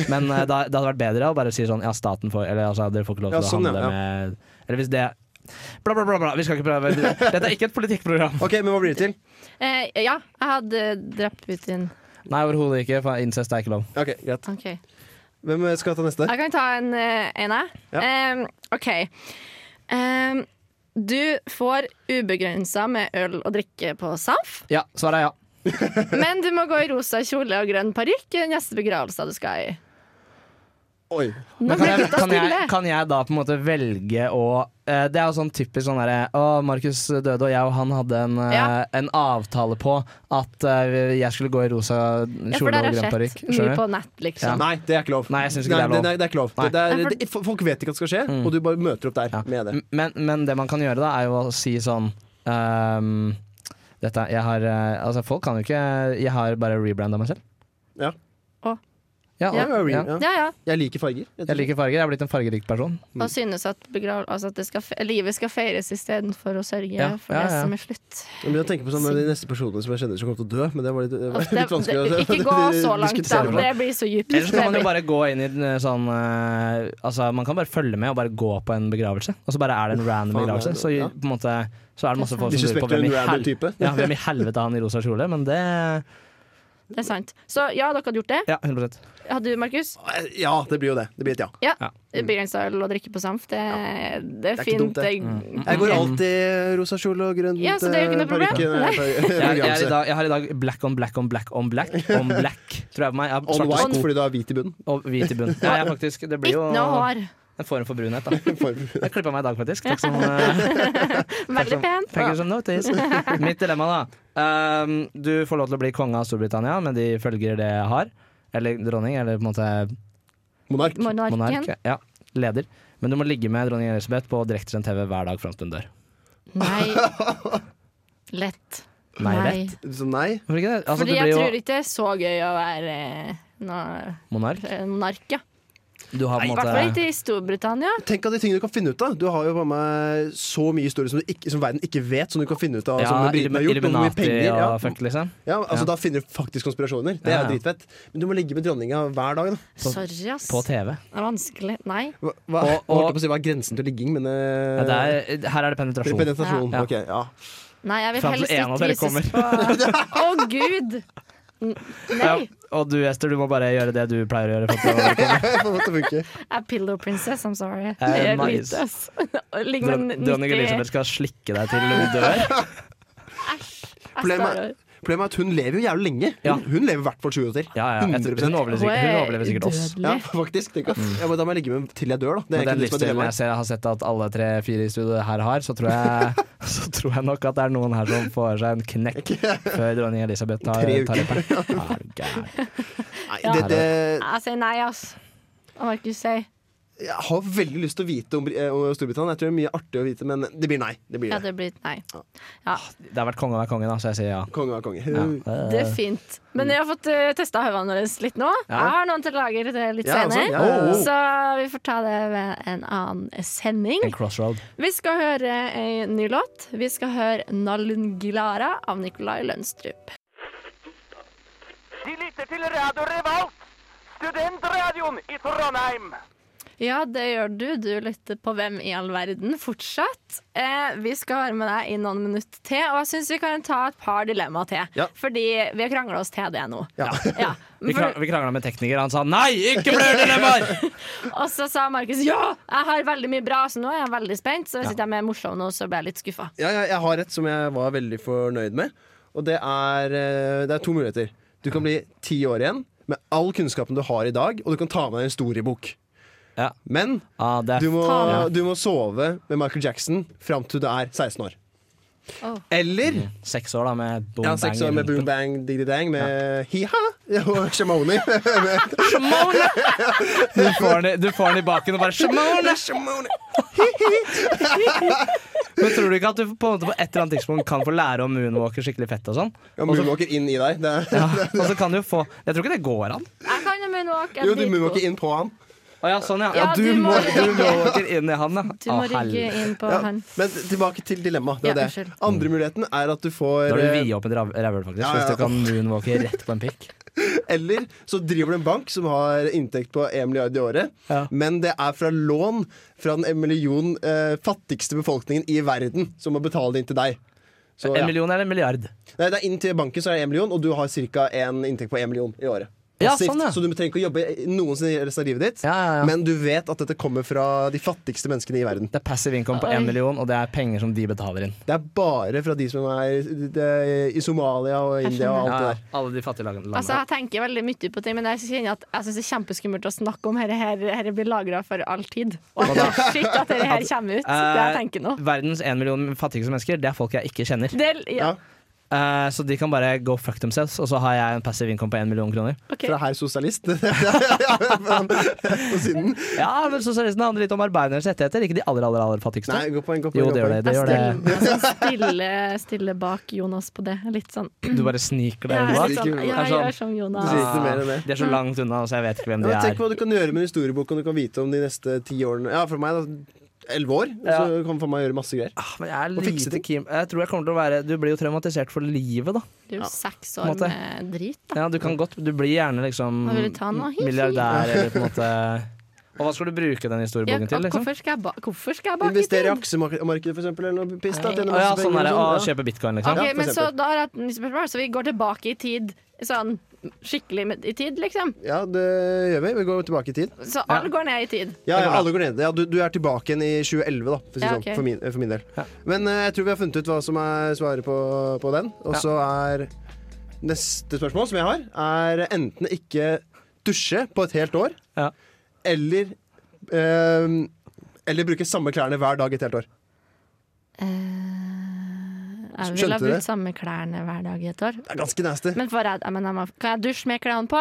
men eh, da, det hadde vært bedre å bare si sånn Ja, staten får Eller altså, dere får ikke lov Ja, til sånn, å handle ja, ja. med Eller hvis det Bla, bla, bla, bla. Vi skal ikke prøve Dette er ikke et politikkprogram. Ok, men hva blir det til? Eh, ja, jeg hadde drept Putin. Nei, overhodet ikke. For incest er ikke lov. Ok, greit. Ok. Hvem eh, skal ta neste? Jeg kan ta en, eh, en jeg. Ja. Em, OK. Em, du får ubegrensa med øl og drikke på SAF, Ja, svaret er ja. men du må gå i rosa kjole og grønn parykk i den neste begravelsen du skal i. Oi. Nå Kan ble jeg, gutta kan, jeg, stille. kan jeg da på en måte velge å eh, Det er jo sånn typisk sånn derre Å, Markus døde, og jeg og han hadde en, eh, Ja. en avtale på at eh, jeg skulle gå i rosa Ja, kjole for der og har grønn jeg parykk. sett mye Skjønner du? på nett, liksom. Nei, det er ikke lov. Nei, jeg synes ikke det er lov. Nei, det er ikke lov. Nei. Mm. Det er, Nei, for- det, folk vet ikke at det skal skje, og du bare møter opp der Ja. Mm. med det. M- Men, men det man kan gjøre da, er jo å si sånn ehm, dette, jeg har, eh, altså folk kan jo ikke Jeg har bare rebranda meg selv. Ja. Å. Ja, Jeg, og, ja. Ja, ja. jeg liker farger. rett og Jeg slett. liker farger. Jeg er blitt en fargerik person. Og synes at, begrav, altså at det skal, fe- livet skal feires istedenfor å sørge Ja, for ja, det ja. som er slutt. Jeg begynner å tenke på sånn, de neste personene som jeg kjenner som kommer til å dø. Men det var litt, det var Uff, det, litt vanskelig det, å [LAUGHS] ikke gå så langt, da. diskutere Det blir så djupt. Eller så kan man jo bare gå inn i den, eh, sånn eh, Altså Man kan bare følge med og bare gå på en begravelse, og så bare er det en random faen, begravelse. det er Så det, i- ja. på en måte Så er det masse folk som lurer på Disrespekter hvem i, en random hel type. ja, hvem i helvete er han i rosa kjole, men det Det er sant. Så ja, dere hadde gjort det. Ja, 100 Hadde du, Markus? Ja, det blir jo det. Det blir et ja. Ja. Ja. Begrensa øl og drikke på samf. Det, det er ikke fint. dumt, det. det. Mm. Jeg går alltid rosa kjole og grønt Ja, så det er jo ikke noe eh, problem. jeg, er- jeg, er i dag, jeg har i dag black on black on black on black on black, tror jeg på meg. Jeg har On svarte white, sko fordi du har hvit i bunnen. og hvit i bunnen. Ja, jeg er faktisk, det blir Ikke jo noe hår. en form for brunhet, da. For- Jeg klippa meg i dag, faktisk. Takk som, eh, Veldig pent. thank you som notice. [LAUGHS] Mitt dilemma, da. Um, du får lov til å bli konge av Storbritannia med de følger det jeg har. Eller dronning, eller på en måte Monark. monark. Monarken. [LAUGHS] Ja, leder. Men du må ligge med dronning Elisabeth på direktesendt TV hver dag fram til hun dør. Nei. Lett. Nei, lett. Så nei. Hvorfor ikke det? Altså, du Fordi jeg blir tror jo ikke det er så gøy å være eh, na- monark. eh, monark, ja. Du har på I en hvert fall måte ikke i Storbritannia. Tenk av de tingene du kan finne ut av. Du har jo bare med så mye historie som, du ikke, som verden ikke vet, som du kan finne ut av. ja, som britene har gjort, og hvor mye Illuminati penger, ja. og fuck, liksom. Ja, altså Ja. Da finner du faktisk konspirasjoner. Det Ja, ja. er jo dritfett. Men du må ligge med dronninga hver dag. da Sorry, ass. På TV. Det er vanskelig. Nei. hva, hva, Og- jeg holdt og- på å si, hva er grensen til ligging, men eh, Ja, det er, her er det penetrasjon. Penetrasjon. Ja. ok, ja. [LAUGHS] Nei, jeg vil Fram til helst en av ikke dere vises på [LAUGHS] Å, gud! N- Nei. Ja, og du, Ester, du må bare gjøre det du pleier å gjøre. For at det var- [LAUGHS] Jeg får det til å funke. Jeg er pillow princess, I'm sorry. Eh, Det er nice. lite, ass. [LAUGHS] Ligg med Dron- en Dronning 90 Elisabeth skal slikke deg til hun dør. Problemet er- Problemet er at hun lever jo jævlig lenge. Hun, Ja. hun lever i hvert fall 20 år til. Ja, ja, jeg tror- hun, 100 overlever Mm. sikkert, hun overlever sikkert oss. ja, faktisk. Tenk, at- ja, men da må jeg ligge med til jeg dør, da. Det Med er den egentlig det som er livsstilen jeg dilemmaet. ser, har sett at alle tre-fire i studio her har, så tror, jeg, [LAUGHS] så tror jeg nok at det er noen her som får seg en [LAUGHS] knekk før dronning Elisabeth tar Tre uker. tar livet. Ja, er du gæren. Nei, det, det, Jeg sier nei, ass. Og Markus sier jeg har veldig lyst til å vite om, Bri- eh, om Storbritannia. Jeg tror det er mye artig å vite, men det blir nei. Det blir ja, det. det blir et nei. Det har vært konge å være konge, da, så jeg sier ja. Konge av konge. ja. Det er fint. Men jeg har fått uh, testa hodene våre litt nå. Ja. Jeg har noen til lager til litt Ja, altså, senere. ja, ja, ja. Så vi får ta det ved en annen sending. En crossroad. Vi skal høre en ny låt. Vi skal høre 'Nallunglara' av Nicolai Lønstrup. Radio Revolt, studentradioen i Trondheim. Ja, det gjør du. Du lytter på Hvem i all verden fortsatt. Eh, vi skal være med deg i noen minutter til, og jeg syns vi kan ta et par dilemmaer til. Fordi vi har krangla oss til det nå. Ja. Vi krang- vi krangla med tekniker, han sa nei, ikke flere dilemmaer! [LAUGHS] Og så sa Markus ja, jeg har veldig mye bra, så nå er jeg veldig spent. Så hvis ikke jeg er morsom nå, så blir jeg litt skuffa. Ja, jeg, jeg har et som jeg var veldig fornøyd med. Og det er, eh, det er to muligheter. Du kan bli ti år igjen med all kunnskapen du har i dag, og du kan ta med deg en historiebok. Men du, må, Ta- du må sove med Michael Jackson fram til du er 16 år. Eller Seks år, da, med boom ja, seks bang. år med boom bang, diggy dang, med hiha [LAUGHS] [LAUGHS] og Shimoni. [LAUGHS] Du får den i- du får den i baken og bare Shimone! [LAUGHS] Men tror du ikke at du på, en måte på et eller annet tidspunkt kan få lære om moonwalker skikkelig fett og sånn? Ja, Og så- moonwalker inn i deg. Det er, Ja, og så kan du jo få Jeg tror ikke det går an. Jeg kan jo moonwalk. jo, du moonwalker inn på han. Å ja, sånn ja. Ja, du, du må, må du rygge. må walker inn i han, ja. Du må Å, rygge helvete. inn på Ja, han. men tilbake til dilemmaet. Det Ja, var det. unnskyld. Andre muligheten er at du får Mm. Da har du eh, viet opp et rav- rævhull, faktisk. Ja, ja, Hvis du ja. kan moonwalke rett på en [LAUGHS] pikk. Eller så driver du en bank som har inntekt på 1 milliard i året, men det er fra lån fra den en million eh, fattigste befolkningen i verden som må betale det inn til deg. Så, En million eller en milliard? Nei, det er inn til banken så er det 1 million, og du har ca. en inntekt på 1 million i året. Ja, Passivt, sånn, ja. Så du trenger ikke å jobbe noensinne i resten av livet ditt, men du vet at dette kommer fra de fattigste menneskene i verden. Det er passive income på Oi. én million, og det er penger som de betaler inn. Det er bare fra de som er i- det- i Somalia og Jeg India og Ja, alt det ja. der. Alle de fattige lag- landene. Altså, jeg tenker veldig mye på ting, men jeg kjenner at jeg syns det er kjempeskummelt å snakke om dette. Her, dette blir lagra for all tid. Og at det er shit at dette her kommer ut. Det jeg tenker nå. Eh, verdens én million fattigste mennesker, det er folk jeg ikke kjenner. Del, ja, Eh, så de kan bare go fuck themselves, og så har jeg en passive income på én million kroner. ok. Fra herr sosialist. [LAUGHS] På siden. Ja, men Sosialistene handler litt om arbeidernes rettigheter, ikke de aller aller, aller fattigste. Nei, godt poeng. godt poeng, jo, godt det poeng. gjør det. det, gjør det. Jeg stiller, [LAUGHS] sånn stille, stille bak Jonas på det. Litt sånn Du bare sniker Ja, deg jeg, er bak. litt sånn, ja, Mm. Er jeg sånn, gjør som Du sier Jonas. ikke noe mer enn det. De er så langt unna, så jeg vet ikke hvem de Ja, er. tenk hva du kan gjøre med en historiebok om du kan vite om de neste ti årene. Ja, for meg da, elleve år. Så kan for meg gjøre masse greier. Ah, Men jeg er Og fikse lite keen Jeg tror jeg kommer til å være Du blir jo traumatisert for livet, da. Det er jo seks på år en måte. med drit, da. Ja, du kan godt Du blir gjerne liksom Hva vil du ta nå? Hi, hi. milliardær eller på en måte [LAUGHS] Og hva skal du bruke den Ja, historieboken til, liksom? hvorfor skal jeg, ba hvorfor skal jeg bak i Investere i tiden? aksjemarkedet, for eksempel. Eller noe piss. da, Å ja, tjene masse sånn penger er det. Å og sånn, ja. kjøpe bitcoin, liksom. Ok, Ja, for men så eksempel. da har jeg et nytt spørsmål. Så vi går tilbake i tid. Sånn skikkelig med- i tid, liksom. Ja, det gjør vi. Vi går tilbake i tid. Så alle går ned i tid. Ja, ja, alle går ned. Ja, du, du er tilbake igjen i 2011, da, for, å si Ja, sånn, ok. for, min, for min del. Men eh, jeg tror vi har funnet ut hva som er svaret på, på den. Og så er neste spørsmål som jeg har, er enten ikke dusje på et helt år, Ja. eller eh, eller bruke samme klærne hver dag i et helt år. Eh, Jeg vil ha Skjønte du det? brukt samme klærne hver dag i et år. Det er ganske nasty. Men, får jeg, men jeg må, kan jeg dusje med klærne på?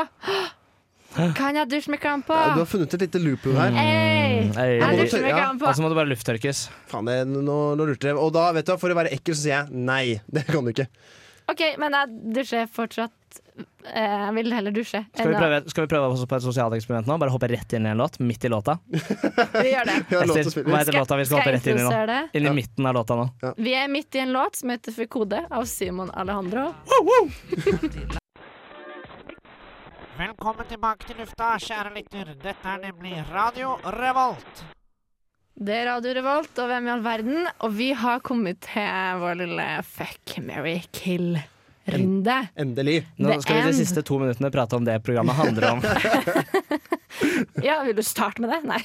Kan jeg dusje med klærne på? Ja, Du har funnet et lite loophole her. Mm. Hey, Hey. jeg dusjer med Ja. klærne Og på. så må du bare lufttørkes. Faen, det, nå, nå lurte jeg. Og da, vet du, hva, for å være ekkel, så sier jeg nei. [LAUGHS] Det kan du ikke. OK, men jeg dusjer fortsatt eh, Jeg vil heller dusje. Skal vi enn å- prøve, skal vi prøve oss på et sosialt eksperiment nå? Bare hoppe rett inn i en låt, midt i låta. Vi gjør det. [LAUGHS] Jeg har lov til å Ester, hva spille. heter låta vi skal Skal hoppe jeg rett inn i nå? introdusere det? Inn i midten av låta nå. Vi er midt i en låt som heter For kode av Simon Alejandro. [LAUGHS] Velkommen tilbake til lufta, kjære lytter. Dette er nemlig Radio Revolt. Det er Radio Revolt og Hvem i all verden? Og vi har kommet til vår lille fuck, marry, kill-runde. Endelig. Nå The skal vi de End. siste to minuttene prate om det programmet handler [LAUGHS] om. Ja, vil du starte med det? Nei.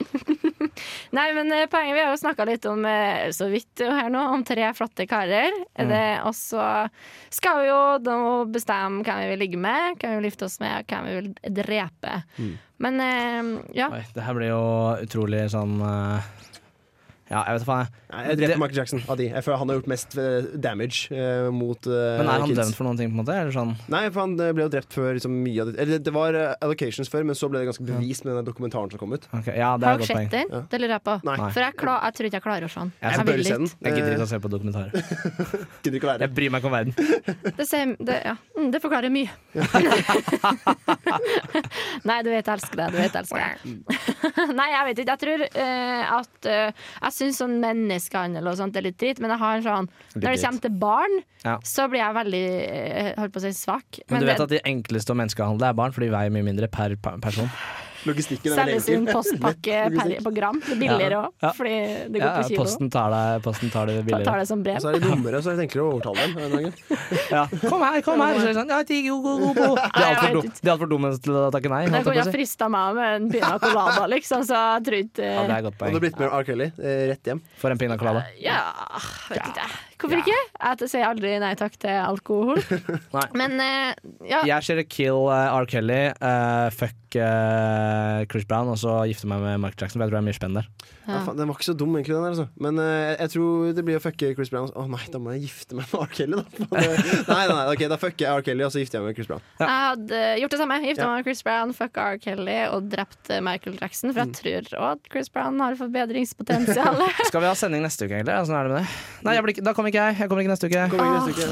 [LAUGHS] Nei, men eh, poenget Vi har jo snakka litt om eh, så vidt jo her nå, om tre flotte karer. Er Mm. Det, og så skal vi jo da bestemme hvem vi vil ligge med, hvem vi vil gifte oss med, og hvem vi vil drepe. Mm. Men eh, ja. Oi, det her blir jo utrolig sånn eh, Ja, jeg vet faen, jeg. Nei, jeg dreper Det- Michael Jackson av de. Jeg føler han har gjort mest eh, damage eh, mot eh, Men er han kids. dømt for noen ting, på en måte? Eller sånn? Nei, for han eh, ble jo drept før liksom, mye av det Eller det var eh, allocations før, men så ble det ganske bevist med den dokumentaren som kom ut. Ok, Ja, det er Har et dere godt poeng. sett den? Det lurer jeg på. Nei. For jeg, kla- jeg tror ikke jeg klarer å se den. Jeg Jeg vil bør se ikke. den. Jeg gidder Eh, ikke å se på [LAUGHS] dokumentarer. gidder ikke å være Jeg bryr meg ikke om verden. Det, sier- det, ja. mm, det forklarer mye. [LAUGHS] [LAUGHS] Nei, du vet jeg elsker deg. Du vet jeg elsker deg. Nei, jeg vet ikke. Jeg tror eh, at eh, Jeg syns sånn menneskehandel og sånt er litt dritt, men jeg har en sånn Litt Når det dritt. kommer til barn, Ja. så blir jeg veldig eh, Holdt på å si svak. Men du vet at de enkleste å menneskehandle er barn, for de veier mye mindre per pa- person. Logistikken Selges inn postpakke per, på gram. Det er billigere Ja. òg, Ja. fordi det går Ja, på kilo. posten tar deg, posten tar det Ta- Tar billigere. det som brev. Så er de dummere, så er det enklere å overtale dem. er det ikke? Ja. Kom her, kom her! Så er det sånn, ja, ti, go, go, go, [LAUGHS] go. De er Nei, jeg altfor vet dum, ikke. de er alt for dumme til å takke nei. Det holdt kunne jeg ha på å si. frista meg med en pina colada, liksom, så jeg tror ikke Ja, det er et godt Hadde poeng. det blitt mer R. Kelly, eh, rett hjem. For en pina colada. Eh, Ja, vet ikke jeg. Hvorfor ikke? Jeg sier aldri nei takk til alkohol. [LAUGHS] Nei. Men eh, ja, Jeg ser kill eh, R. Kelly, eh, fuck eh, Chris Brown, og så gifte meg med Michael Jackson, for jeg tror det er mye spenn der. Ja. faen, den var ikke så dum, egentlig. den der altså. Men eh, jeg tror det blir å fucke Chris Brown. Å nei, da må jeg gifte meg med R. Kelly, da. Faen, det- nei, nei, ok, da fucker jeg R. Kelly, og så gifter jeg meg med Chris Brown. jeg hadde gjort det samme. Gifta Ja. meg med Chris Brown, fucka R. Kelly og drept eh, Michael Jackson. For jeg Mm. tror også at Chris Brown har forbedringspotensial. [LAUGHS] Skal vi ha sending neste uke, egentlig? Åssen er det med det? Nei, jeg blir, ikke- da kommer ikke jeg. Jeg kommer ikke neste uke. Kommer ikke neste uke.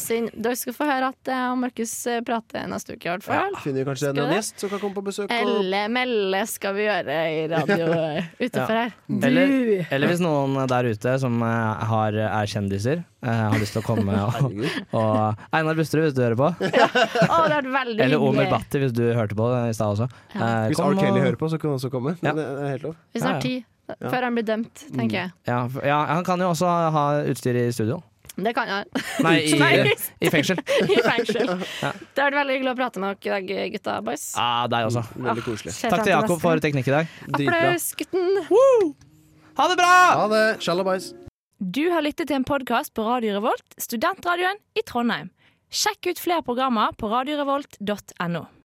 [LAUGHS] Synd. Dere skal få høre at eh, Markus eh, prater neste uke, i hvert fall. Finner vi kanskje en Skal vi det? gjest som kan komme på besøk. Og Elle melle skal vi gjøre i [LAUGHS] radio eh, utenfor her. Du! Mm. Eller, eller hvis noen der ute som eh, har, er kjendiser, eh, har lyst til å komme og, og Einar Busterud, hvis du hører på. Å, det har vært veldig Eller Omer hyggelig. Bhatti, hvis du hørte på i stad også. Eh, hvis kom R. Kelly og- hører på, så kan han også komme. Ja. Men det er helt lov. Hvis Ja, han har Mm. tid. Før han blir dømt, tenker jeg. Ja, f- ja, han kan jo også ha utstyr i studio. Det kan han. Nei, [LAUGHS] Nei. i, i fengsel. [LAUGHS] I fengsel. Det har vært veldig hyggelig å prate med dere i dag, gutta boys. Ja, deg også. Veldig koselig. Ser Takk frem til Jakob neste. for teknikk i dag. Dritbra. Applaus, gutten! Ha det bra! Ha det. Shalabais. Du har lyttet til en podkast på Radio Revolt, studentradioen i Trondheim. Sjekk ut flere programmer på radiorevolt.no.